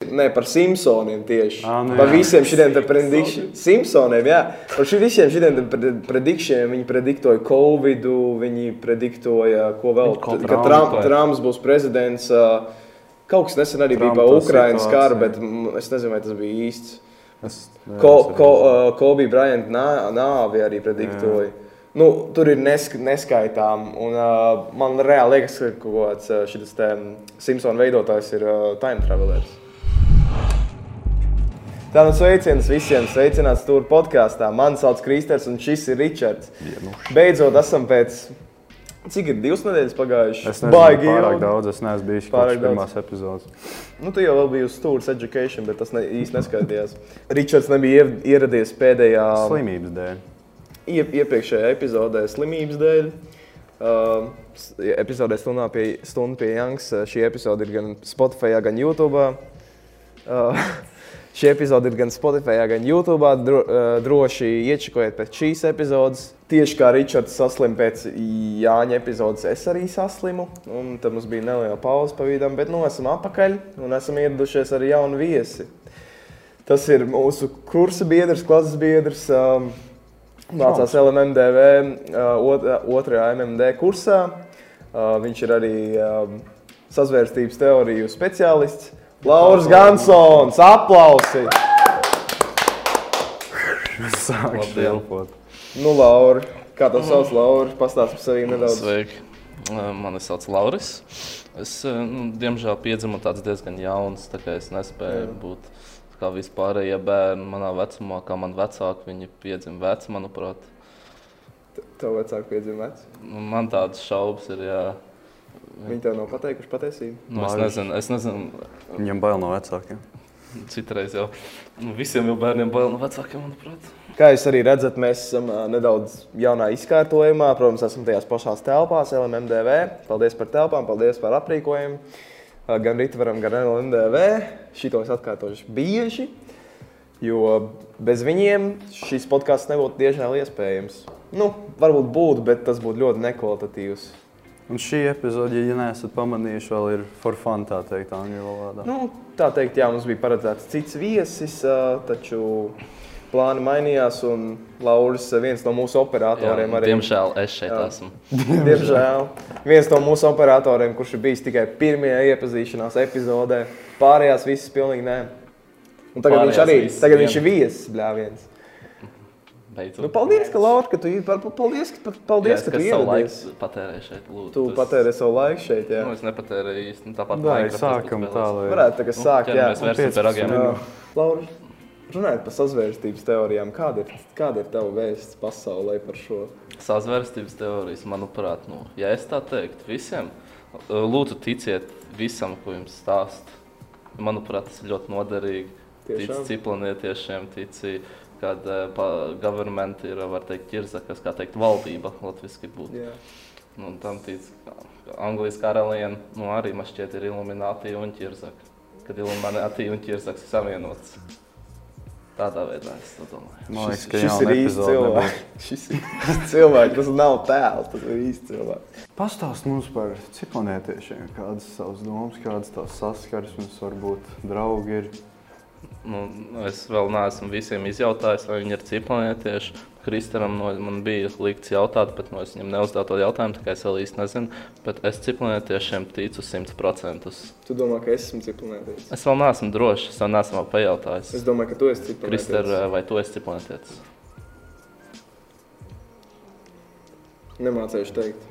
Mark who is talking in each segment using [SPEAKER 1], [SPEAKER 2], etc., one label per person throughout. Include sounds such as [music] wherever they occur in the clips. [SPEAKER 1] Nē, par Simpsoniem tieši.
[SPEAKER 2] Ā, nu
[SPEAKER 1] par
[SPEAKER 2] jā.
[SPEAKER 1] visiem šiem predikšiem. Simpsoniem, jā. Par šiem visiem šiem predikšiem viņi prediktoja Covid, viņi prediktoja, ko vēl.
[SPEAKER 2] Ko
[SPEAKER 1] T- Ka
[SPEAKER 2] Trumpa.
[SPEAKER 1] Trump, Trumps būs prezidents. ā, Kaut kas nesen arī bija
[SPEAKER 2] Trumpa
[SPEAKER 1] par Ukraiņas
[SPEAKER 2] situācija.
[SPEAKER 1] karu, bet mm, es nezinu, vai tas bija īsts.
[SPEAKER 2] Es,
[SPEAKER 1] Ko- ko- uh, Kobe Bryant nā- nāvi arī prediktoja. Nu, tur ir nesk neskaitām. Un, uh, man reāli liekas, ka kaut kāds uh, šis Simpsons veidotājs ir uh, time travelers. Tā nu sveiciens visiem, sveicināts tur podkāstā. Mani sauc Kristers un šis ir Ričards.
[SPEAKER 2] nu,
[SPEAKER 1] Beidzot, esam pēc cik ir divas nedēļas
[SPEAKER 2] es
[SPEAKER 1] pagājušas?
[SPEAKER 2] nezinu,
[SPEAKER 1] Baigi
[SPEAKER 2] pārāk
[SPEAKER 1] ilgi.
[SPEAKER 2] daudz. Es neesmu bijis
[SPEAKER 1] Pārāk
[SPEAKER 2] pārāk
[SPEAKER 1] daudz.
[SPEAKER 2] pirmās epizodes.
[SPEAKER 1] Nu, tu jau vēl biji uz Stūres Education, bet tas ne, īsti neskaidījās. Ričards nebija iev- ieradies pēdējā.
[SPEAKER 2] Slimības dēļ. [laughs]
[SPEAKER 1] Ie- iepriekšējā epizodē slimības dēļ. Uh, s- epizodē stundā pie, stundu pie Jānis. Šī epizode ir gan Spotify, gan YouTube. Uh, [laughs] šī epizode ir gan Spotify, gan YouTube. Dro, uh, droši iečakojiet pēc šīs epizodes. Tieši kā Ričards saslim pēc Jāņa epizodes, es arī saslimu. Un tad mums bija neliela pauze pa vidam, bet nu esam apakaļ un esam ieradušies ar jaunu viesi. Tas ir mūsu kursa biedrs, klases biedrs. Um, Mācās LMDV, uh, otrajā MMD kursā. Uh, Viņš ir arī um, sazvērstības teoriju speciālists. Lauris Gansons, aplausi!
[SPEAKER 2] Sākšu tilpot.
[SPEAKER 1] Nu, Lauri, kā tev sauc, Lauri? Pastāsti par sevi nedaudz.
[SPEAKER 3] Sveiki! Uh, Mani sauc Lauris. Es, uh, nu, diemžēl, piedzimu tāds diezgan jauns, tā kā es nespēju Jā. būt tā kā vispārējie bērni manā vecumā, kā man vecāki. Viņi piedzima veci, manuprāt.
[SPEAKER 1] Tev vecāki piedzimts.
[SPEAKER 3] Nu, Man tādas šaubas ir. Jā.
[SPEAKER 1] Viņi tev nav pateikuši patiesību.
[SPEAKER 3] Nu, es,
[SPEAKER 2] Maižas.
[SPEAKER 3] nezinu, es nezinu,
[SPEAKER 2] Viņam bail no vecākiem.
[SPEAKER 3] citreiz jau nu, visiem jau bērniem bail no vecākiem, manuprāt.
[SPEAKER 1] Kā jūs arī redzat, mēs esam ā, nedaudz jaunā izkārtojumā. Protams, esam tajās pašās telpās, LMDV. Paldies par telpām, paldies par aprīkojumu. Ā, Gan Rītvaram, gan LMDV. Šito es atkārtošu bieži, jo bez viņiem šis podkāsts nebūtu tiešām iespējams. Nu, varbūt būtu, bet tas būtu ļoti nekvalitatīvs.
[SPEAKER 2] Un šī epizode, ja neesat pamanījuši, vēl ir for fun, tā teikt, angļu valodā.
[SPEAKER 1] Nu, tā teikt, jā, mums bija paredzēts cits viesis, ā, taču plāni mainījās un Lauris, viens no mūsu operatoriem, arī
[SPEAKER 3] diemžēl es šeit
[SPEAKER 1] Jā.
[SPEAKER 3] Jā. esmu.
[SPEAKER 1] [laughs] Diemžēl viens no mūsu operatoriem, kurš ir bijis tikai pirmajā iepazīšanās epizodē, pārējās visas pilnīgi nē. Un tagad viņš
[SPEAKER 3] Pārējās
[SPEAKER 1] arī
[SPEAKER 3] visas
[SPEAKER 1] tagad
[SPEAKER 3] vien.
[SPEAKER 1] viņš ir viesis, bļāviens.
[SPEAKER 3] Beidzot.
[SPEAKER 1] Nu, paldies, ka Laura, ka tu ir. Paldies, ka, paldies, ka tu
[SPEAKER 3] savu
[SPEAKER 1] ieradies.
[SPEAKER 3] laiku patērēju šeit. Lūdzu,
[SPEAKER 1] Tu
[SPEAKER 3] Es-
[SPEAKER 1] patēri savu laiku šeit, jā.
[SPEAKER 3] Nu, es nepatērēju īstenībā tāpat.
[SPEAKER 2] Nē,
[SPEAKER 3] Minecraft, es
[SPEAKER 2] sākam
[SPEAKER 3] pat
[SPEAKER 2] tā,
[SPEAKER 3] vēlos.
[SPEAKER 2] lai
[SPEAKER 1] Varētu tagad
[SPEAKER 3] Nu,
[SPEAKER 1] sākt, jā.
[SPEAKER 3] ķeramies vērsim pie
[SPEAKER 2] 15
[SPEAKER 3] ragiem.
[SPEAKER 2] minūtes.
[SPEAKER 1] Jā. Laura, runājot par sazvērstības teorijām, kāda ir, kāda ir tava vēsts pasaulē par šo?
[SPEAKER 3] Sazvērstības teorijas, manuprāt, nu, ja es tā teiktu visiem, eh, lūdzu, ticiet visam, ko jums stāsta. Manuprāt, tas ir ļoti noderīgi.
[SPEAKER 1] Tiešām?
[SPEAKER 3] Tici cipranietiešiem, tici, kad eh, government ir, var teikt, ķirza, kas, kā teikt, valdība latviski būtu.
[SPEAKER 1] Jā.
[SPEAKER 3] Nu, Un tam tic ka Anglijas karalieni, nu arī man šķiet ir iluminātija un ķirzaka. Kad iluminātija un ķirzaks ir savienots. Tādā veidā es to domāju.
[SPEAKER 2] Man liekas, ka
[SPEAKER 1] Šis ir īsts cilvēks. Šis ir īsts cilvēks. Tas nav tēls, tas ir īsts cilvēks.
[SPEAKER 2] Pastāst mums par ciklonētiešiem, kādas savas domas, kādas tās saskarsmes, varbūt draugi ir.
[SPEAKER 3] Nu, es vēl neesmu visiem izjautājis, vai viņi ir ciprānietieši. Kristānam no, man bija likts jautāt, bet no, es viņam neuzdevu to jautājumu, tā kā es vēl īsti nezinu. Bet es ciprānietiešiem ticu 100%.
[SPEAKER 1] Tu domā, ka es esmu ciprānētājs?
[SPEAKER 3] Es vēl neesmu drošs, es vēl neesmu vēl
[SPEAKER 1] Es
[SPEAKER 3] pajautājis.
[SPEAKER 1] domāju, ka tu esi
[SPEAKER 3] Kristān,
[SPEAKER 1] ciprānētājs.
[SPEAKER 3] vai tu esi ciprānietis?
[SPEAKER 1] Nemācījuši teikt.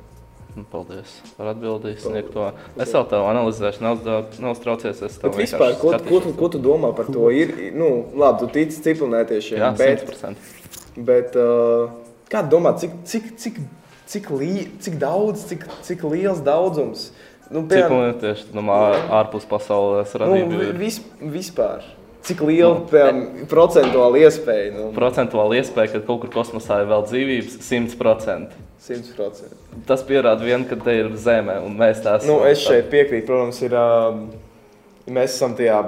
[SPEAKER 3] Nu, Paldies par atbildību, sniegt to. Es vēl tev analizēšu, neuzdev- neuztraucies. Es tev
[SPEAKER 1] Bet vispār,
[SPEAKER 3] vienkārši
[SPEAKER 1] ko, tu- ko, tu,
[SPEAKER 3] skatīšos.
[SPEAKER 1] ko tu domā par to? Ir, nu, labi, tu tici ciprānētiešiem,
[SPEAKER 3] Jā,
[SPEAKER 1] bet,
[SPEAKER 3] 100%.
[SPEAKER 1] bet uh, kā tu domā, cik, cik, cik, cik, li, cik daudz, cik, cik liels daudzums? Nu, piemēram,
[SPEAKER 3] Ciprānietieši, domāju, ārpus pasaules radību.
[SPEAKER 1] nu,
[SPEAKER 3] ir.
[SPEAKER 1] vis, vispār, cik liela nu, procentuāla iespēja? Nu,
[SPEAKER 3] procentuāli iespēja, ka kaut kur kosmosā ir vēl dzīvības, 100%.
[SPEAKER 1] 100%.
[SPEAKER 3] Tas pierāda vien, ka te ir Zeme un mēs tā esam.
[SPEAKER 1] Nu, es šeit piekrītu, protams, ir, um, mēs esam tajā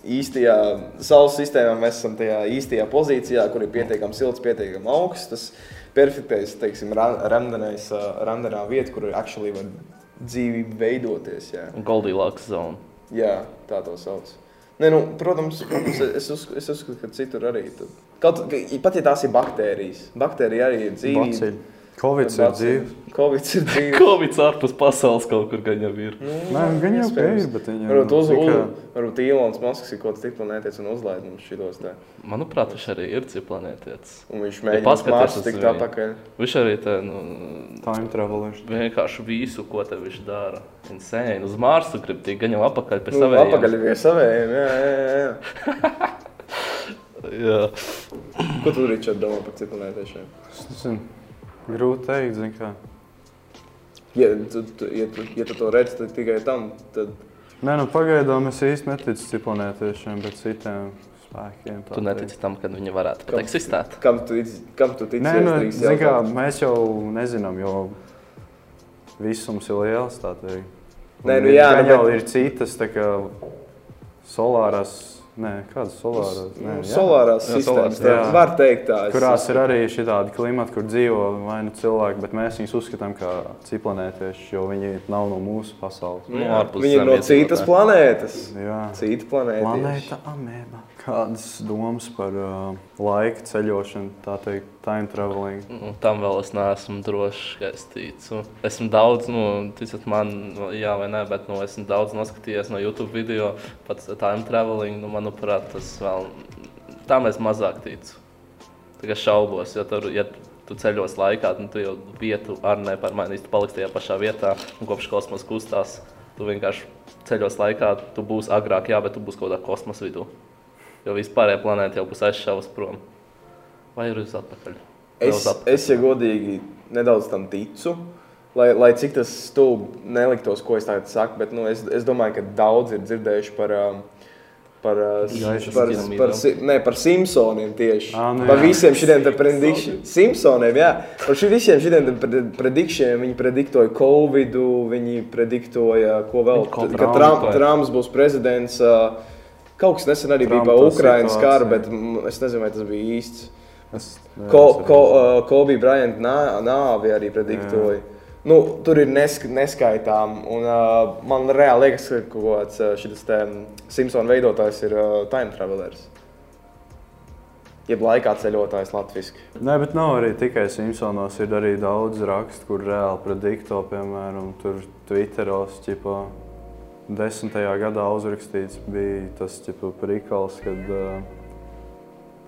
[SPEAKER 1] īstajā saules sistēmā, mēs esam tajā īstajā pozīcijā, kur ir pietiekami silts, pietiekami augsts. Tas perfektais, teiksim, randenais, uh, randenā vieta, kur actually var dzīvību veidoties. Jā,
[SPEAKER 3] Goldilocks zona.
[SPEAKER 1] jā tā to sauc. Nē, nu, protams, protams es, uzsk es uzskatu, ka citur arī. tu- Kaut, ka- pat ja tās ir baktērijas, baktērija arī ir dzīve.
[SPEAKER 2] Bacili. Covid ir dzīves.
[SPEAKER 1] Covid
[SPEAKER 2] [laughs]
[SPEAKER 1] ir dzīve. Mm,
[SPEAKER 3] Covid ārpus pasaules kaut kur gan jau ir.
[SPEAKER 2] Nē, gan jau
[SPEAKER 1] iespējams.
[SPEAKER 2] pie ir, bet viņi
[SPEAKER 1] Varbūt,
[SPEAKER 2] nu,
[SPEAKER 1] uz,
[SPEAKER 2] tā kā-
[SPEAKER 1] uz, varbūt Ilons Maskis ir kaut kas tāds, neteicis un uzlaid mums šitos te.
[SPEAKER 3] Manuprāt, viņš arī ir ciplanētietis.
[SPEAKER 1] Un viņš
[SPEAKER 3] Ja
[SPEAKER 1] mēģina
[SPEAKER 3] paskaties
[SPEAKER 1] ja Marsu
[SPEAKER 3] uz
[SPEAKER 1] tikt
[SPEAKER 3] viņu.
[SPEAKER 1] atpakaļ.
[SPEAKER 3] Viņš arī tā, nu,
[SPEAKER 2] Time travelers.
[SPEAKER 3] vienkārši visu, ko te viņš dara. Insane. Uz Marsu grib tikt gan jau apakaļ pie
[SPEAKER 1] Nu,
[SPEAKER 3] saviem.
[SPEAKER 1] Atpakaļ pie saviem, jā, jā, jā.
[SPEAKER 3] Jā.
[SPEAKER 1] Ko tu, Ričard, domā par ciklonētiešiem?
[SPEAKER 2] Es nezinu, grūti teikt, zin kā.
[SPEAKER 1] Ja tu, tu, ja, tu, ja tu to redzi tad tikai tam, tad
[SPEAKER 2] Nē, nu pagaidām es īsti neticu ciklonētiešiem, bet citiem spēkiem. tā
[SPEAKER 3] Tu
[SPEAKER 2] teikt.
[SPEAKER 3] netici tam, ka viņi varētu pat
[SPEAKER 1] Kam?
[SPEAKER 3] eksistēt.
[SPEAKER 1] kam tu tici? Kam tu tici?
[SPEAKER 2] Nē,
[SPEAKER 1] es
[SPEAKER 2] nu,
[SPEAKER 1] drīkst
[SPEAKER 2] zin kā,
[SPEAKER 1] jautāt.
[SPEAKER 2] mēs jau nezinām, jo visums ir liels. tā teikt. Un
[SPEAKER 1] Nē, nu
[SPEAKER 2] ir-
[SPEAKER 1] jā,
[SPEAKER 2] gan
[SPEAKER 1] nu,
[SPEAKER 2] jau
[SPEAKER 1] bet-
[SPEAKER 2] ir citas, tā kā solāras, nē, kādas solāras? Nē,
[SPEAKER 1] Nu,
[SPEAKER 2] jā.
[SPEAKER 1] Solārās
[SPEAKER 3] Jā, solārās,
[SPEAKER 1] sistēmas, jā.
[SPEAKER 2] jā.
[SPEAKER 1] var teikt tā. es-
[SPEAKER 2] Kurās ir arī šādi klimati, kur dzīvo vai nu cilvēki, bet mēs viņus uzskatām par ciklonētiešiem, jo viņi nav no mūsu pasaules.
[SPEAKER 1] Nu,
[SPEAKER 3] Nu,
[SPEAKER 1] jā,
[SPEAKER 3] ārpus
[SPEAKER 1] Viņi ir no
[SPEAKER 3] Zemes
[SPEAKER 1] citas
[SPEAKER 3] iedzīvotāji.
[SPEAKER 1] planētas.
[SPEAKER 2] Jā.
[SPEAKER 1] Cita planēta.
[SPEAKER 2] Planēta amēba. Kādas domas par uh, laika ceļošanu, tā teikt, time traveling?
[SPEAKER 3] Nu, tam vēl es neesmu drošs, ka es ticu. Esmu daudz, nu, ticat man, nu, jā, vai nē, bet nu, esmu daudz noskatījies no YouTube video par time traveling. Nu, manuprāt, tas vēl tam es mazāk ticu. Tikai šaubos, jo tur, ja tu ceļos laikā, tad nu, tu jau vietu ar nepārmainīsi. Tu paliksi tajā pašā vietā un kopš kosmosa kustās. Tu vienkārši ceļos laikā, tu būsi agrāk, jā, bet tu būsi kaut kādā kosmosa vidū. Jo vispārējā planēta jau būs aizšāvusi prom. Vai ir uz atpakaļ? Vai
[SPEAKER 1] Es,
[SPEAKER 3] uz atpakaļ?
[SPEAKER 1] es, ja godīgi, nedaudz tam ticu. Lai, lai cik tas stulbi neliktos, ko es tagad saku, bet nu, es, es domāju, ka daudz ir dzirdējuši par, um, par, uh, s-
[SPEAKER 3] Gaišas
[SPEAKER 1] par,
[SPEAKER 3] piramīdām.
[SPEAKER 1] par, si- ne, par Simpsoniem tieši.
[SPEAKER 2] Ā, nu
[SPEAKER 1] par
[SPEAKER 2] jā.
[SPEAKER 1] visiem šiem predikšiem. Simpsoniem, jā. Par šiem visiem šiem predikšiem viņi prediktoja Covid, viņi prediktoja, ko vēl,
[SPEAKER 3] Viņi kaut
[SPEAKER 1] ka
[SPEAKER 3] Trumpu
[SPEAKER 1] Trump,
[SPEAKER 3] vai-
[SPEAKER 1] Trumps būs prezidents. Uh, kaut kas nesen arī bija
[SPEAKER 2] Trumpa
[SPEAKER 1] par Ukrainas karu,
[SPEAKER 2] situācija.
[SPEAKER 1] bet mm, es nezinu, vai tas bija īsts.
[SPEAKER 2] Es
[SPEAKER 1] Ko, ko, uh, Kobe Bryant nā- nāvi arī prediktoja. Nu, tur ir nesk neskaitām. Un, uh, man reāli liekas, ka kaut kāds uh, šis Simpsons veidotājs ir uh, time travelers. Jeb laikā ceļotājs latviešu.
[SPEAKER 2] Nē, bet nav arī tikai Simpsonos. Ir arī daudz rakstu, kur reāli predikto, piemēram, tur Twitteros, tipā. Desmitajā gadā uzrakstīts bija tas tipa, prikals, kad uh,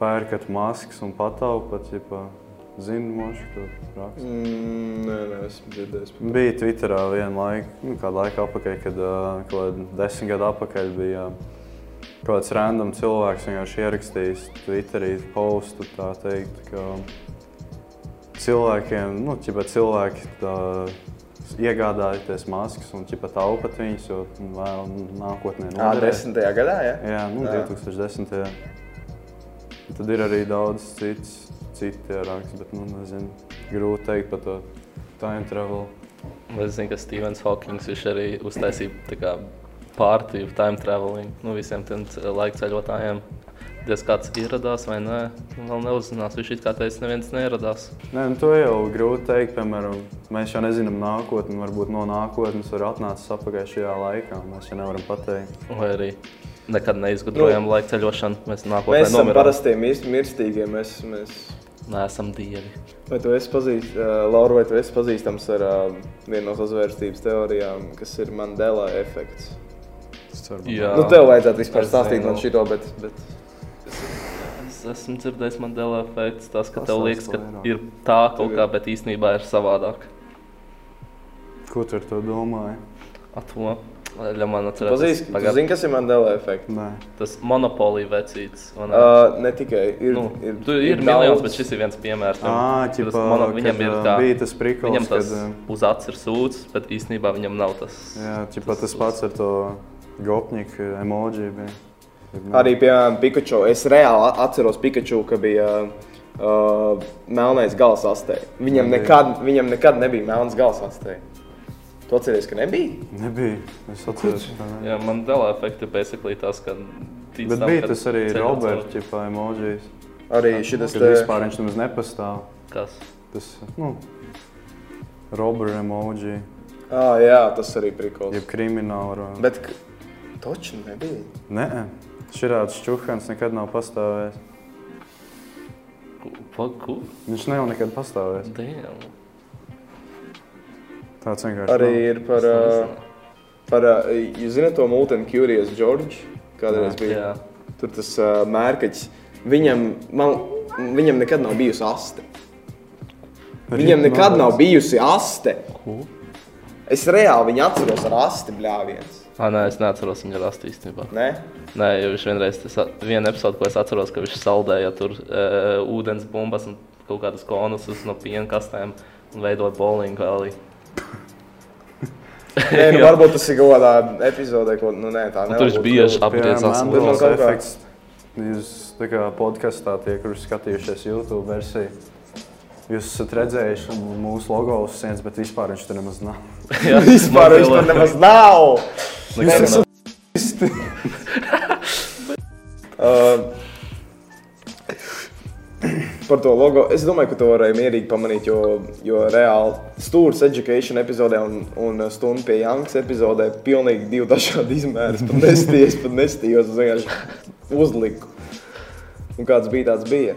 [SPEAKER 2] pērkat maskas un pataupat, ja zināmoši, ko raksta.
[SPEAKER 1] Mm, nē, nē, es dzirdēju. par-
[SPEAKER 2] Bija Twitterā vienlaikus, nu, kāda laika apakaļ, kad ā, kaut kādi desmit gadu atpakaļ bija ā, kaut kāds random cilvēks vienkārši ierakstījis Twitterī postu, tā teikt, ka cilvēkiem, nu, ķipa cilvēki tā, iegādājieties maskas un ķipa taupat viņas, jo nu, vēl nākotnē
[SPEAKER 1] Ā,
[SPEAKER 2] noderēs.
[SPEAKER 1] 10. gadā, jā.
[SPEAKER 2] Jā, nu,
[SPEAKER 1] Jā.
[SPEAKER 2] 2010. Tad ir arī daudz cits, citi raksts, bet, nu, nezinu, grūti teikt par to time travel.
[SPEAKER 3] Es zinu, ka Stevens Hawkings viņš arī uztaisīja tā kā pārtīvu time traveling nu, visiem tiem ce- laika ceļotājiem. Diez kāds ieradās vai nē, nu, vēl neuzzinās. Viņš it kā teica, neviens neieradās.
[SPEAKER 2] Nē, nu, to jau grūti pateikt. Piemēram, mēs jau nezinām nākotni. Varbūt no nākotnes var atnākt atpakaļ šajā laikā. Mēs jau nevaram pateikt.
[SPEAKER 3] Vai arī nekad neizgudrojām nu, laika ceļošanu. Mēs nākotnē
[SPEAKER 1] Mēs esam
[SPEAKER 3] nomirām.
[SPEAKER 1] parastie mirst- mirstīgie. Mēs, mēs...
[SPEAKER 3] Nē, esam dievi.
[SPEAKER 1] Vai tu esi pazīstams, uh, Laura, vai tu esi pazīstams ar uh, vienu no sazvērstības teorijām, kas ir Mandela efekts?
[SPEAKER 2] Es ceru,
[SPEAKER 3] Jā.
[SPEAKER 1] Nu, tev vajadzētu vispār
[SPEAKER 3] Es
[SPEAKER 1] stāstīt
[SPEAKER 3] zinu.
[SPEAKER 1] man šito, bet, bet
[SPEAKER 3] Es esmu dzirdējis, man dēlā efekts, tas, ka tev
[SPEAKER 2] Pasaules
[SPEAKER 3] liekas, ka
[SPEAKER 2] vairāk.
[SPEAKER 3] ir tā kaut
[SPEAKER 1] Tev
[SPEAKER 3] kā, bet īstenībā ir savādāk.
[SPEAKER 2] Ko tu ar to domāji?
[SPEAKER 3] Ar to ļauj
[SPEAKER 1] tu
[SPEAKER 3] man atcerēties.
[SPEAKER 1] pazīsti, tu
[SPEAKER 3] Pagad-
[SPEAKER 1] zini, kas ir Mandela efekts.
[SPEAKER 2] Nē,
[SPEAKER 3] Tas monopolija vecīts. vai ne?
[SPEAKER 1] Uh, ne tikai ir,
[SPEAKER 3] Nu,
[SPEAKER 1] ir,
[SPEAKER 3] tu ir ir miljons, bet šis ir viens piemērs. tam.
[SPEAKER 2] Ā,
[SPEAKER 3] Tas
[SPEAKER 2] ķipā,
[SPEAKER 3] mono-
[SPEAKER 2] kad,
[SPEAKER 3] viņam ir
[SPEAKER 2] ā,
[SPEAKER 3] tā,
[SPEAKER 2] bija tas prikals,
[SPEAKER 3] Viņam tas
[SPEAKER 2] Ah, kad, eh.
[SPEAKER 3] uz acis ir sūds, bet īstenībā viņam nav tas.
[SPEAKER 2] jā, ķipa, tas pats ar to gopnieku emoji bija. nu,
[SPEAKER 1] Arī, piemēram, Pikachu. Es reāli a- atceros Pikachu, ka bija uh, melnais gals astē. Viņam
[SPEAKER 2] Nebija.
[SPEAKER 1] nekad, viņam nekad nebija melns gals astē. Tu atceries, ka nebija?
[SPEAKER 2] Nebija. Es atceros, ka tā nebija.
[SPEAKER 3] Jā, man dēlā efekti ir basically tas, ka tic
[SPEAKER 2] Bet
[SPEAKER 3] tam,
[SPEAKER 2] bija
[SPEAKER 3] ka
[SPEAKER 2] tas arī
[SPEAKER 3] ceļot
[SPEAKER 2] Roberta
[SPEAKER 3] caur-
[SPEAKER 2] ķipa emojis.
[SPEAKER 1] Arī šis
[SPEAKER 2] Kad vispār viņš nemaz nepastāv.
[SPEAKER 3] Kas?
[SPEAKER 2] Tas, nu, Roberta emoji.
[SPEAKER 1] Ah, jā, tas arī prikals.
[SPEAKER 2] Jeb krimināla runa.
[SPEAKER 1] Bet k- točnu nebija.
[SPEAKER 2] Nē, Šāds čūhans nekad nav pastāvējis.
[SPEAKER 3] Paku?
[SPEAKER 2] Viņš nav nekad pastāvējis.
[SPEAKER 3] Damn.
[SPEAKER 2] Tāds vienkārši
[SPEAKER 1] Arī
[SPEAKER 2] nav.
[SPEAKER 1] ir par, uh, par uh, jūs zināt to Multan Curious George, kādreiz bija.
[SPEAKER 3] Jā,
[SPEAKER 1] Tur tas uh, mērķis, viņam, man, viņam nekad nav bijusi aste.
[SPEAKER 2] Arī
[SPEAKER 1] Viņam nekad nav
[SPEAKER 2] bijis.
[SPEAKER 1] bijusi aste.
[SPEAKER 3] ko?
[SPEAKER 1] Es reāli viņu atceros ar asti bļāviens.
[SPEAKER 3] Ah, nē, es neatceros viņa rastu īstenībā. [laughs]
[SPEAKER 1] Ne?
[SPEAKER 3] Nē, jo viņš vienreiz, tas viena epizode, ko es atceros, ka viņš saldēja tur e, ūdens bumbas un kaut kādas konusus no piena kastēm un veidoja bowlingu alley. [laughs]
[SPEAKER 1] Nē, nu, varbūt tas ir kaut kādā epizodē, ko nu, nē, tā
[SPEAKER 3] Un tur viņš
[SPEAKER 1] nevarbūt
[SPEAKER 3] bieži
[SPEAKER 1] kļūt.
[SPEAKER 3] apgriezās.
[SPEAKER 1] man-
[SPEAKER 2] Mandols
[SPEAKER 1] kaut kā-
[SPEAKER 2] efekts. Jūs tā kā podkastā tie, kurus skatījušies YouTube versiju. Jūs esat redzējuši mūsu logo uz sienas, bet vispār viņš tur nemaz nav.
[SPEAKER 3] Jā,
[SPEAKER 1] [laughs] Vispār viņš tur nemaz nav.
[SPEAKER 3] Nekad nav.
[SPEAKER 1] Uh, Par to logo. Es domāju, ka to varēja mierīgi pamanīt, jo, jo reāli stūris education epizodē un, un stundu pie Jankas epizodē ir pilnīgi divi dažādi izmēri. Es pat nestījos, pat nestījos, es vienkārši uzliku. Un kāds bija tāds bija?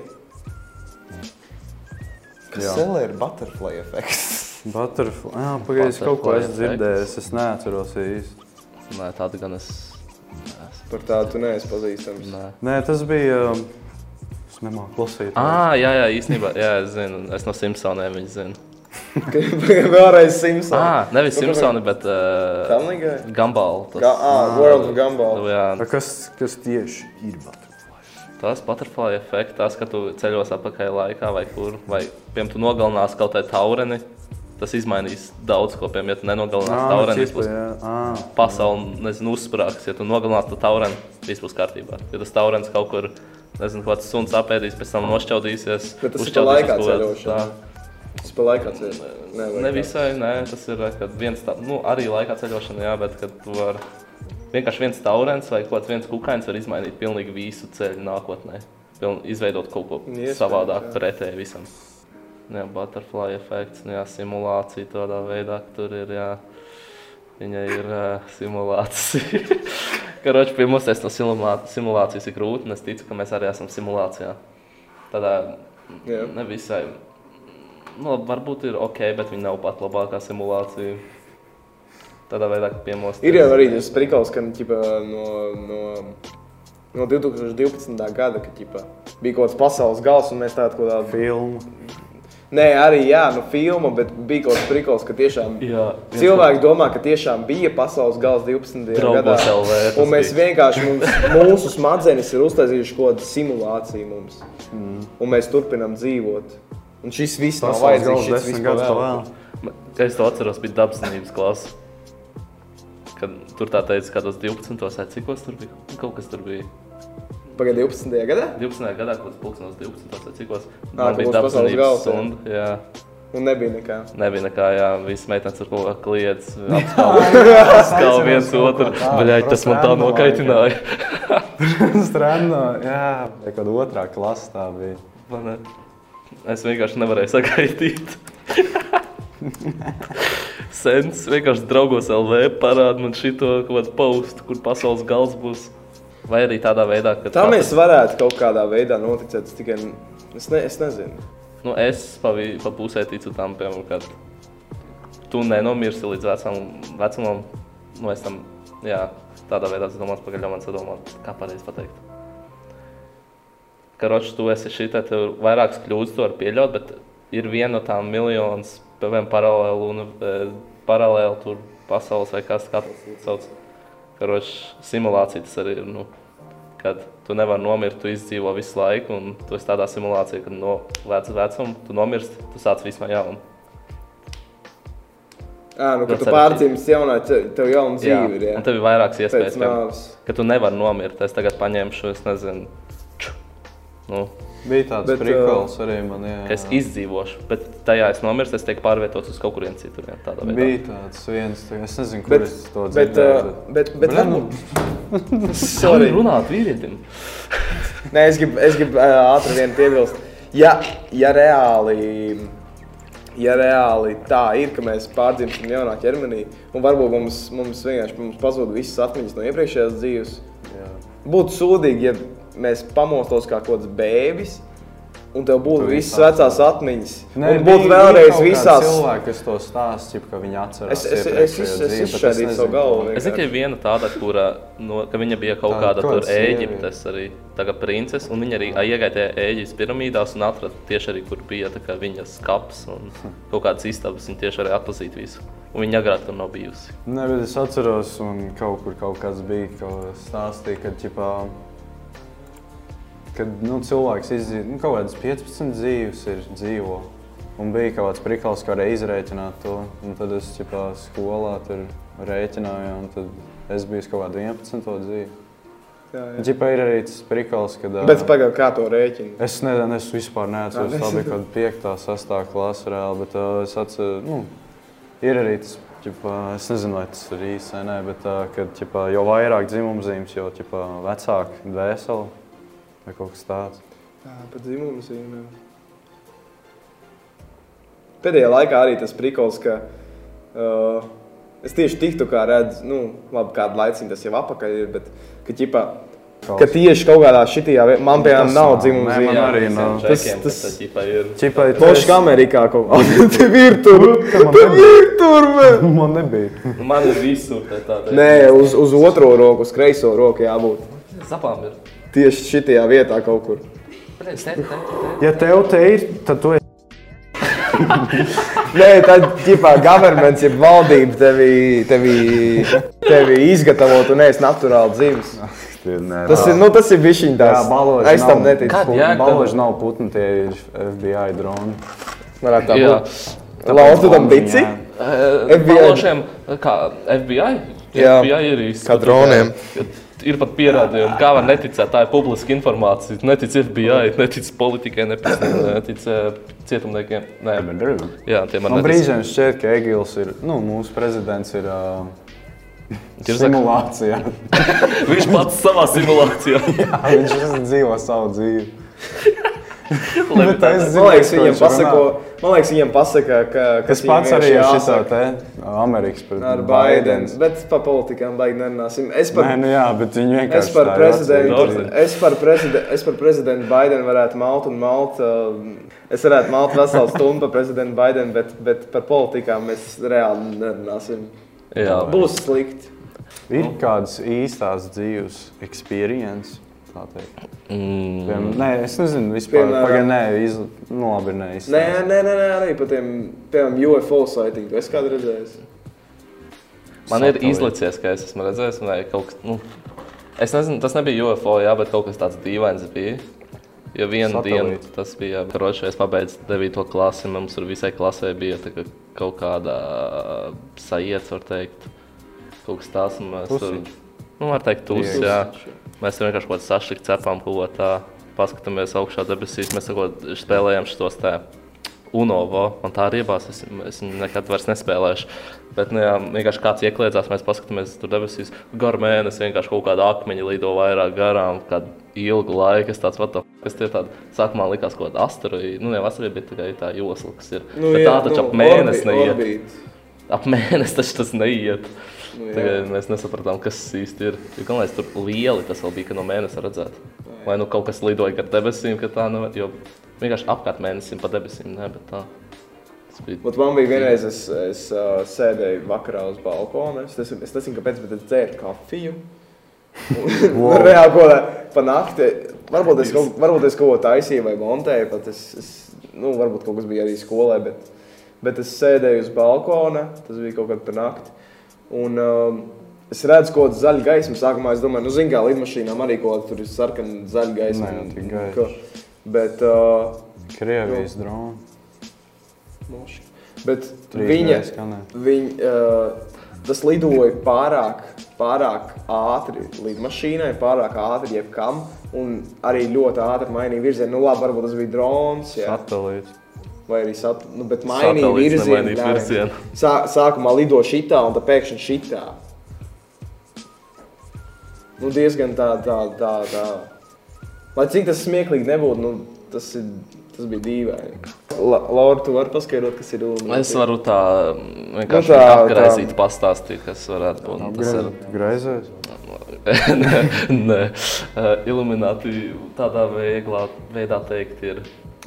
[SPEAKER 1] Kas
[SPEAKER 2] Jā.
[SPEAKER 1] vēl ir butterfly efekts?
[SPEAKER 2] Butterfly. Jā, pagaidzi, kaut ko es
[SPEAKER 3] Butterfly
[SPEAKER 2] dzirdēju, es neatceros īsti.
[SPEAKER 3] Nē, tāda gan es. neesmu.
[SPEAKER 1] Par tādu tu neesi pazīstams.
[SPEAKER 3] Nē.
[SPEAKER 2] Nē, tas bija. um, Es nemāku lasīt.
[SPEAKER 3] Ah, jā, jā, īstenībā, jā, es zinu, es no Simpsoniem viņu zinu.
[SPEAKER 1] [laughs] Vēlreiz Simpsons.
[SPEAKER 3] Ah, nevis
[SPEAKER 1] Nu, kaut
[SPEAKER 3] Simpsoni, bet uh,
[SPEAKER 1] Family Guy?
[SPEAKER 3] Gumball. tas- Nu,
[SPEAKER 1] Ga ah, World of Gumball.
[SPEAKER 3] Jā,
[SPEAKER 2] Tā Kas, kas tieši ir butterfly?
[SPEAKER 3] Tas butterfly efekts, tas, ka tu ceļos atpakaļ laikā vai kur, vai piemēram, tu nogalinās kaut kādu taureni, tas izmainīs daudz ko. Piemēram, ja tu
[SPEAKER 1] nu,
[SPEAKER 3] nenogalinās taureni, tas
[SPEAKER 2] cipa,
[SPEAKER 3] būs
[SPEAKER 2] jā. Ah,
[SPEAKER 3] pasaule, nezinu, uzsprāgs. Ja tu nogalinās to taureni, viss būs kārtībā. Ja tas taurens kaut kur, nezinu, kāds suns apēdīs, pēc tam nošķaudīsies.
[SPEAKER 1] Bet tas ir pa
[SPEAKER 3] uzšķaudīsies
[SPEAKER 1] laikā
[SPEAKER 3] kaut kāds-
[SPEAKER 1] ceļošana.
[SPEAKER 3] tā.
[SPEAKER 1] Tas pa laikā ceļā. Ne, vai
[SPEAKER 3] Ne
[SPEAKER 1] kā?
[SPEAKER 3] visai, nē, tas ir kad viens tā, nu, arī laikā ceļošana, jā, bet kad tu vari vienkārši viens taurens vai kaut kāds viens kukainis var izmainīt pilnīgi visu ceļu nākotnē. Piln, izveidot kaut ko
[SPEAKER 1] Iespējams,
[SPEAKER 3] savādāk,
[SPEAKER 1] jā.
[SPEAKER 3] pretēji visam. Jā, butterfly efekts, nu jā, simulācija tādā veidā, ka tur ir, jā, viņa ir uh, simulācija. [laughs] Karoči, pie mums tas no simulā, simulācijas ir grūti, un es ticu, ka mēs arī esam simulācijā. Tādā
[SPEAKER 1] Jā.
[SPEAKER 3] nevisai Nu, labi, varbūt ir ok, bet viņi nav pat labākā simulācija. Tādā veidā, ka piemostas.
[SPEAKER 1] Ir jau arī tas prikals, ka ķipa, no, no, no 2012. gada ka, ķipa, bija kaut kāds pasaules gals, un mēs tādu kaut kādā.
[SPEAKER 2] Filma.
[SPEAKER 1] Nē, arī jā, no filma, bet bija kaut kāds prikals, ka tiešām
[SPEAKER 3] Jā,
[SPEAKER 1] cilvēki domā, ka tiešām bija pasaules gals 12. gadā.
[SPEAKER 3] Draugos LV tas
[SPEAKER 1] Un mēs
[SPEAKER 3] bija.
[SPEAKER 1] vienkārši,
[SPEAKER 3] [laughs]
[SPEAKER 1] mums, mūsu smadzenes ir uztaisījušas kaut kādu simulāciju mums,
[SPEAKER 3] Mm.
[SPEAKER 1] un mēs turpinām dzīvot. Un šis viss nav
[SPEAKER 2] Pasaules gals
[SPEAKER 1] vajadzīgs. šis viss
[SPEAKER 2] desmit gadus
[SPEAKER 1] pavēl.
[SPEAKER 2] vēl. vēl.
[SPEAKER 3] Kā es to atceros, bija dabasnības klase. Kad tur tā teica, ka tas 12. vai cik tur bija? Kaut kas tur bija.
[SPEAKER 1] Pagaid, 12. gadā?
[SPEAKER 3] 12. gadā, kad tas pulksnos 12. vai cik
[SPEAKER 1] Ā, ka būs pasaules
[SPEAKER 3] bija dabasnības
[SPEAKER 1] gals, jā.
[SPEAKER 3] stunda. Jā,
[SPEAKER 1] Un nebija nekā.
[SPEAKER 3] nebija nekā, jā, visas meitenes ar kaut kā kliedz,
[SPEAKER 2] [laughs]
[SPEAKER 3] apskauj viens otru. Baļai, tas man tā
[SPEAKER 1] [laughs]
[SPEAKER 3] nokaitināja.
[SPEAKER 2] Strāno, jā, kaut kāda otrā klasa tā bija.
[SPEAKER 3] Man, ne- es vienkārši nevarēju sagaidīt. Sens vienkārši draugos LV parāda man šito kaut kādu postu, kur pasaules gals būs. Vai arī tādā veidā, ka
[SPEAKER 1] Tā mēs varētu kaut kādā veidā noticēt, es tikai es, ne, es nezinu.
[SPEAKER 3] Nu, es pa, vi- pa pusē ticu tam, piemēram, kad tu nenomirsi līdz vecam, vecumam. Nu, es tam, jā, tādā veidā es domāju, pagaļā man sadomā, kā pareizi pateikt. Karoči, tu esi šī te vairākas kļūdas, tu vari pieļaut, bet ir viena no tām miljonas, piemēram, paralēlu, un, e, paralēlu tur pasaules vai kas kā tas sauc. Karoči, simulācija tas arī ir, nu, kad tu nevari nomirt, tu izdzīvo visu laiku, un tu esi tādā simulācijā, kad no vecuma vecuma tu nomirsti, tu sāc visu no jauna.
[SPEAKER 1] À, nu,
[SPEAKER 3] Nu,
[SPEAKER 1] kad tu
[SPEAKER 3] sarežģīti.
[SPEAKER 1] pārcīmies jaunā, te- tev jauna dzīve ir. jā.
[SPEAKER 3] un tev ir vairākas
[SPEAKER 1] Pēc
[SPEAKER 3] iespējas, piemēram,
[SPEAKER 1] nāves.
[SPEAKER 3] ka tu nevari nomirt. Es tagad paņemšu, es nezinu, ču, nu,
[SPEAKER 2] Bija tāds
[SPEAKER 1] Bet,
[SPEAKER 2] Bet, prikals arī man, jā.
[SPEAKER 3] ka es izdzīvošu, bet tajā es nomirstu, es tiek pārvietots uz kaut kurien citur. Jā, tādā veidā.
[SPEAKER 2] Bija tāds viens, tā, es nezinu, kur
[SPEAKER 1] Bet,
[SPEAKER 2] bet, es to
[SPEAKER 1] bet, uh,
[SPEAKER 2] dzirdēju.
[SPEAKER 1] bet, bet,
[SPEAKER 2] Bļa, nu,
[SPEAKER 1] varbūt,
[SPEAKER 2] [laughs]
[SPEAKER 3] Kā
[SPEAKER 1] sorry.
[SPEAKER 3] runāt vīrietim?
[SPEAKER 1] Nē, es gribu grib, uh, ātri vien piebilst. Ja, ja, reāli, ja reāli tā ir, ka mēs pārdzimstam jaunā ķermenī, un varbūt mums, mums vienkārši mums pazūd visas atmiņas no iepriekšējās dzīves,
[SPEAKER 2] jā.
[SPEAKER 1] būtu sūdīgi, ja mēs pamostos kā kaut kāds bēbis. Un tev būtu
[SPEAKER 2] Tu
[SPEAKER 1] visas
[SPEAKER 2] visās-
[SPEAKER 1] vecās atmiņas.
[SPEAKER 2] Nē,
[SPEAKER 1] un būtu vēlreiz visās.
[SPEAKER 2] Cilvēki, kas to stāsta, jau viņi atcerās.
[SPEAKER 1] Es- es- es-
[SPEAKER 2] iepriekšējo
[SPEAKER 1] es- es
[SPEAKER 2] dzīvi, bet
[SPEAKER 1] izšķēdīju
[SPEAKER 2] nezinu,
[SPEAKER 1] savu galvu.
[SPEAKER 2] ko-
[SPEAKER 3] Es tikai vienu tādu, kurā no, ka viņa bija kaut
[SPEAKER 2] Tā,
[SPEAKER 3] kāda
[SPEAKER 2] kāda
[SPEAKER 3] tur
[SPEAKER 2] sieviete.
[SPEAKER 3] Ēģiptes arī tā kā princese, un viņa arī iegāja Ēģiptes piramīdās un atrada tieši arī, kur bija tā kā viņas kaps un kaut kādas istabas, viņa tieši arī atpazīst visu. Un viņa agrāk tur nav bijusi.
[SPEAKER 2] Nē, bet es atceros, un kaut kur kaut kāds bija, ka stāstīja, ka ģipā, kad, nu, cilvēks izdzīvo nu, kaut kādas 15 dzīves, ir dzīvo. Un bija kaut kāds prikals, kā arī izrēķināt to. Un tad es ģipā, skolā tur rēķināju, un tad es biju uz kaut kādu 11. dzīvi.
[SPEAKER 1] Jā, jā.
[SPEAKER 2] Ģipā ir arī tas prikals, kad. ā,
[SPEAKER 1] Bet pagaidi, kā to rēķinu?
[SPEAKER 2] Es nezinu, es vispār neatceros,
[SPEAKER 1] Ah,
[SPEAKER 2] tā bija kaut kāda 5, 6 klase reāli, bet uh, es atceros, nu, ir arī tas, ķipā, es nezinu, vai tas ir īsi vai nē, bet uh, kad, ķipā, jo vairāk dzimumzīmes, jo ķipā, vecāk dvēseli vai kaut kas tāds.
[SPEAKER 1] Jā, pat dzimums ir. jā. Pēdējā laikā arī tas prikols, ka uh, es tieši tiktu kā redzu, nu, labi, kādu laiciņu tas jau apakaļ ir, bet ka, ķipa, ka tieši kaut kādā šitā vietā man piemēram
[SPEAKER 2] Tas
[SPEAKER 1] nav
[SPEAKER 2] nav.
[SPEAKER 1] dzimuma
[SPEAKER 2] Nē, man
[SPEAKER 1] zīme.
[SPEAKER 2] arī nav.
[SPEAKER 1] Tas-
[SPEAKER 3] Tas, tas,
[SPEAKER 1] tas-
[SPEAKER 3] tas ģipā ir.
[SPEAKER 2] Ķipā,
[SPEAKER 1] Toši kā Amerikā kaut kā. [laughs] Tev ir tur,
[SPEAKER 2] man
[SPEAKER 1] tev
[SPEAKER 2] nebija. [laughs]
[SPEAKER 1] ir tur, man.
[SPEAKER 2] Man nebija.
[SPEAKER 3] Nu, man ir visur tā tāda.
[SPEAKER 1] Nē, uz, uz otro roku, uz kreiso roku jābūt.
[SPEAKER 3] Sapām ir.
[SPEAKER 1] Tieši šitā vietā kaut kur.
[SPEAKER 3] Pēc, te, te, te.
[SPEAKER 2] Ja tev te ir, tad tu esi.
[SPEAKER 1] Nē, tad ģipā governments, ja valdība tevi, tevi, tevi izgatavot un ēst naturāli dzīves.
[SPEAKER 2] Nē,
[SPEAKER 1] Tas ir, nu, tas ir bišķiņ
[SPEAKER 2] Jā,
[SPEAKER 1] tās.
[SPEAKER 2] baloži
[SPEAKER 1] es tam neticu.
[SPEAKER 2] Kad,
[SPEAKER 3] Kad?
[SPEAKER 2] jā,
[SPEAKER 3] jā,
[SPEAKER 2] baloži nav putni, tie ir FBI droni.
[SPEAKER 1] Varētu tā
[SPEAKER 3] Jā.
[SPEAKER 1] būt. Lau, tu tam tici?
[SPEAKER 2] Jā.
[SPEAKER 1] FBI.
[SPEAKER 3] Palošiem, kā FBI?
[SPEAKER 1] Jā.
[SPEAKER 3] FBI ir izskatīts.
[SPEAKER 1] Kā droniem.
[SPEAKER 3] Ir pat pierādījumi, kā var neticēt. Tā ir publiska informācija. Netic FBI, netic politikai, netic, netic eh, cietumniekiem. Nē, jā, tie man
[SPEAKER 2] Man
[SPEAKER 3] netic.
[SPEAKER 2] brīžiem šķiet, ka Egils ir, nu, mūsu prezidents ir uh,
[SPEAKER 3] Ir zak-
[SPEAKER 2] simulācijā. [laughs]
[SPEAKER 3] Viņš pats savā simulācijā.
[SPEAKER 2] Viņš visu dzīvo savu
[SPEAKER 1] [laughs]
[SPEAKER 2] dzīvi.
[SPEAKER 3] Levitācijā.
[SPEAKER 2] Bet es
[SPEAKER 1] Man liekas,
[SPEAKER 2] ko
[SPEAKER 1] viņiem
[SPEAKER 2] viņš
[SPEAKER 1] pasako,
[SPEAKER 2] runā.
[SPEAKER 1] man liekas, viņiem pasaka, ka
[SPEAKER 2] Es
[SPEAKER 1] ka
[SPEAKER 2] pats
[SPEAKER 1] viņiem
[SPEAKER 2] arī esmu
[SPEAKER 1] vienkārši
[SPEAKER 2] šitā
[SPEAKER 1] jāsaka
[SPEAKER 2] te Amerikas pret
[SPEAKER 1] ar
[SPEAKER 2] Baidens.
[SPEAKER 1] Baidenu. Bet par politikām baigi nerunāsim. Es par,
[SPEAKER 2] Nē, nu jā, bet viņi
[SPEAKER 1] es
[SPEAKER 2] vienkārši
[SPEAKER 1] par
[SPEAKER 2] tā ir
[SPEAKER 1] prezidentu,
[SPEAKER 2] atsevišķi.
[SPEAKER 1] es par prezidentu, es par prezidentu Baidenu varētu malt un malt. um, Es varētu malt veselu stundu par prezidentu Baidenu, bet, bet par politikām mēs reāli nerunāsim.
[SPEAKER 3] Jā,
[SPEAKER 1] Būs slikti.
[SPEAKER 2] Ir kādas īstās dzīves experience, tā teikt.
[SPEAKER 3] Mm,
[SPEAKER 2] Piemēram, Nē, es nezinu, vispār.
[SPEAKER 1] Piemēram-
[SPEAKER 2] Pagaid, nē, iz... nu labi, nē, īstās.
[SPEAKER 1] Nē, nē, nē, nē arī par tiem, piemēram, UFO sightingu. Es kādu redzēju.
[SPEAKER 3] man ir
[SPEAKER 2] Satelīti.
[SPEAKER 3] izlicies, ka es esmu redzējis, vai kaut kas. Nu, es nezinu, tas nebija UFO, jā, bet kaut kas tāds dīvains bija. Jo vienu
[SPEAKER 2] Satelīti.
[SPEAKER 3] dienu tas bija. Kročā es pabeidzu 9. klasi, un mums tur visai klasē bija tā kā kaut kāda sajēdz, var teikt, kaut kas tāds. un mēs Tur,
[SPEAKER 2] Pusiņš.
[SPEAKER 3] nu, var teikt, tūs,
[SPEAKER 2] Dievs.
[SPEAKER 3] jā. Mēs tur vienkārši kaut kādā sašķelti cepām, kaut ko tā. Paskatāmies augšā debesīs, mēs kaut ko spēlējam šos te. Unovo, man tā arī bija. Es, es viņu nekad vairs nespēlēšu. Bet, nu, jā, vienkārši kāds iekļāvās, mēs paskatāmies tur debesīs. Garu mēnesi vienkārši kaut kāda akmeņa lido vairāk garām, kādu ilgu laiku. Es tāds pats, kas tie tādi sākumā likās kaut kāda asteroīda. Nu, nevis asteroīda, bet tikai tā josla, kas ir. Nu, bet jā, tā taču nu, ap mēnesi
[SPEAKER 1] orbi-
[SPEAKER 3] neiet.
[SPEAKER 1] orbīts.
[SPEAKER 3] Ap mēnesi taču tas neiet.
[SPEAKER 1] Nu, jā.
[SPEAKER 3] Tagad mēs nesapratām, kas tas īsti ir. Jo, Gan lai tur lieli tas vēl bija, ka no mēnesa redzēt. Vai nu kaut kas lidoja gar debesīm, ka tā nav. Jo vienkārši apkārt mēnesim pa debesīm, ne, bet tā. Tas bija
[SPEAKER 1] Bet man bija vienreiz, es, es uh, sēdēju vakarā uz balkona. Es, nezinu- es nezinu, kāpēc, bet es dzēru kafiju. Un-
[SPEAKER 2] Wow.
[SPEAKER 1] [laughs] Reāli kaut kā pa nakti. Varbūt es, kaut, varbūt es kaut ko taisīju vai montēju, bet es, es nu, varbūt kaut kas bija arī skolē. Bet, bet es sēdēju uz balkona, tas bija kaut kad pa nakti. Un, um, es redzu kaut kādu zaļu gaismu. Sākumā es domāju, nu, zin kā lidmašīnām arī kaut kāda sarkana zaļa gaisma.
[SPEAKER 2] Nē, nu, tik gaiši.
[SPEAKER 1] Ko- Bet, uh,
[SPEAKER 2] Krievijas droni.
[SPEAKER 1] Moši. Bet
[SPEAKER 2] Trīs
[SPEAKER 1] viņa,
[SPEAKER 2] reizes skanē.
[SPEAKER 1] viņa uh, tas lidoja pārāk, pārāk ātri lidmašīnai, pārāk ātri jebkam, un arī ļoti ātri mainīja virzienu. Nu, labi, varbūt tas bija drons, jā,
[SPEAKER 2] Satelīts.
[SPEAKER 1] vai arī sat, nu, bet mainīja
[SPEAKER 3] Satelīts
[SPEAKER 1] virzienu.
[SPEAKER 3] nemainīja
[SPEAKER 1] jā.
[SPEAKER 3] virzienu.
[SPEAKER 1] Sā, sākumā lido šitā, un tad pēkšņi šitā. Nu, diezgan tā, tā, tā, tā. Lai cik tas smieklīgi nebūtu, nu, tas, ir, tas bija dīvaini. La, Laura, tu vari paskaidrot, kas ir Illuminati?
[SPEAKER 3] Es varu tā mm,
[SPEAKER 1] Nu
[SPEAKER 3] vienkārši nu
[SPEAKER 1] tā,
[SPEAKER 3] tā, apgrazīt, pastāstīt, kas varētu būt. Tas ir
[SPEAKER 2] Graizējis.
[SPEAKER 3] Nē, Eh, iluminati tādā veiglā veidā teikt, ir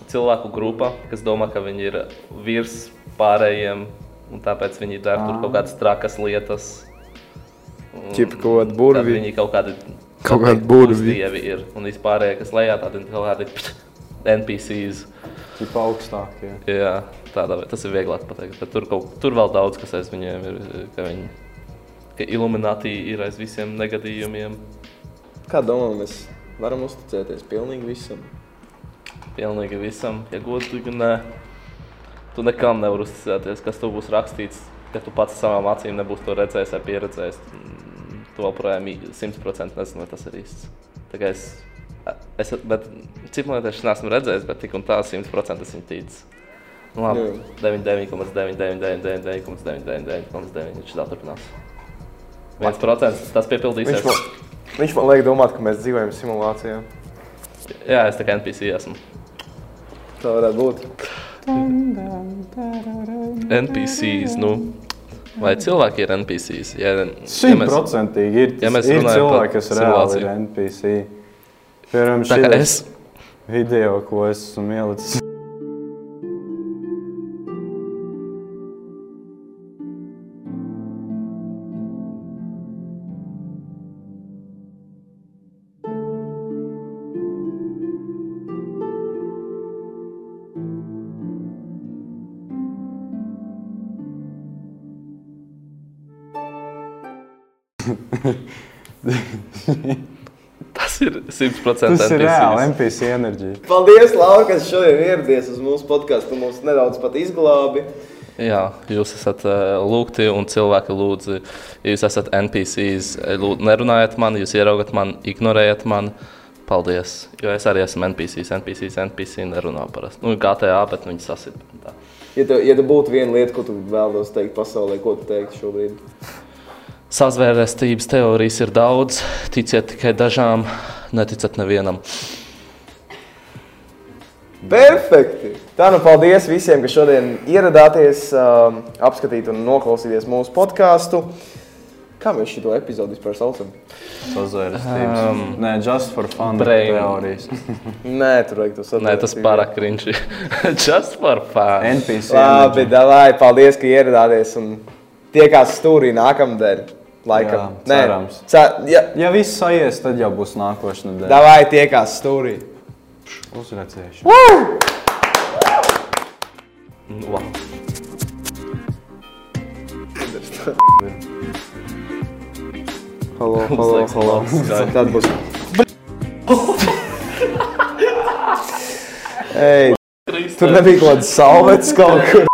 [SPEAKER 3] cilvēku grupa, kas domā, ka viņi ir virs pārējiem, un tāpēc viņi dara tur kaut kādas trakas lietas. Un
[SPEAKER 1] Ah. Ķip kaut kādi
[SPEAKER 3] tad
[SPEAKER 1] burvi.
[SPEAKER 3] Viņi kaut kādi
[SPEAKER 1] Kaut kādi
[SPEAKER 3] pateikt,
[SPEAKER 1] burvi.
[SPEAKER 3] pusdievi ir, un vispārējie, kas lejā, tādi kaut kādi NPCs.
[SPEAKER 2] Tipa augstākie.
[SPEAKER 3] Jā, tādā veidā tas ir vieglāk pateikt. bet Tur, kaut, tur vēl daudz kas aiz viņiem ir. Ka viņi, ka Illuminati ir aiz visiem negadījumiem.
[SPEAKER 1] Kā domā, mēs varam uzticēties pilnīgi visam?
[SPEAKER 3] Pilnīgi visam, ja godīgi, nē. Tu nekam nevar uzticēties, kas tev būs rakstīts, ka tu pats savām acīm nebūs to redzējis vai pieredzējis. Mm, Tu joprojām i- 100% nezini, vai tas ir īsts. Tā kā Es, eh, es cik man liekas, es neesmu redzējis, bet tik un tā 100% es viņu ticu. Nu, Labi,
[SPEAKER 1] Jā.
[SPEAKER 3] 99,999,999,999,999. Viņš tā turpinās. 1% tas piepildīsies.
[SPEAKER 2] Viņš man, viņš man liek domāt, ka mēs dzīvojam simulācijā.
[SPEAKER 3] Jā, es tā kā NPC esmu.
[SPEAKER 1] Tā varētu būt.
[SPEAKER 3] NPCs. Nu, vai cilvēki ir NPCs? Jā, ja mēs,
[SPEAKER 2] Simtprocentīgi ir,
[SPEAKER 3] ja mēs
[SPEAKER 2] ir
[SPEAKER 3] runājam
[SPEAKER 2] cilvēki,
[SPEAKER 3] par
[SPEAKER 2] kas reāli ir
[SPEAKER 3] simulāciju.
[SPEAKER 2] NPC. Piemēram,
[SPEAKER 3] tā kā
[SPEAKER 2] šī
[SPEAKER 3] es [laughs]
[SPEAKER 2] video, ko es esmu ielicis.
[SPEAKER 3] tas ir 100%
[SPEAKER 2] Tas ir reāli
[SPEAKER 3] NPCs.
[SPEAKER 2] NPC enerģija.
[SPEAKER 1] Paldies, Laura, kas šodien ieradies uz mūsu podkāstu. Tu mūs nedaudz pat izglābi.
[SPEAKER 3] Jā, jūs esat uh, lūgti un cilvēki lūdzu, ja jūs esat NPCs, lūd, nerunājiet man, jūs ieraugat man, ignorējiet man. Paldies, jo es arī esmu NPCs, NPCs, NPC nerunā parasti. Nu, GTA, bet viņi sasita. Tā.
[SPEAKER 1] Ja tev, ja tev būtu viena lieta, ko tu vēlos teikt pasaulē, ko tu teiktu šobrīd?
[SPEAKER 3] Sazvērestības teorijas ir daudz, ticiet tikai dažām, neticiet nevienam.
[SPEAKER 1] Perfekti! Tā nu paldies visiem, kas šodien ieradāties, um, apskatīt un noklausīties mūsu podkāstu. Kā mēs šo epizodu vispār saucam?
[SPEAKER 2] Sazvērstības. Um, Nē, just for fun
[SPEAKER 3] brain. [laughs]
[SPEAKER 2] teorijas.
[SPEAKER 1] Nē, tur vajag to saprast.
[SPEAKER 3] Nē, tas pārāk krinči. [laughs] Just par fānu.
[SPEAKER 2] NPC.
[SPEAKER 1] Labi,
[SPEAKER 2] energy.
[SPEAKER 1] Davai, paldies, ka ieradāties un tiekās stūrī nākamdēļ. Laikam.
[SPEAKER 2] Jā, cerams.
[SPEAKER 1] Nē, ce, jā,
[SPEAKER 2] Ja viss aizies, tad jau būs nākošais nedēļa.
[SPEAKER 1] davai, tiekās stūrī.
[SPEAKER 2] Uzredzēšu.
[SPEAKER 3] Nu, labi.
[SPEAKER 1] Halo,
[SPEAKER 3] Mums
[SPEAKER 1] halo,
[SPEAKER 3] liekas,
[SPEAKER 1] halo.
[SPEAKER 3] labs skaidrs.
[SPEAKER 1] Tad būs. Ej, tur nebija kaut kāds salvets kaut kur.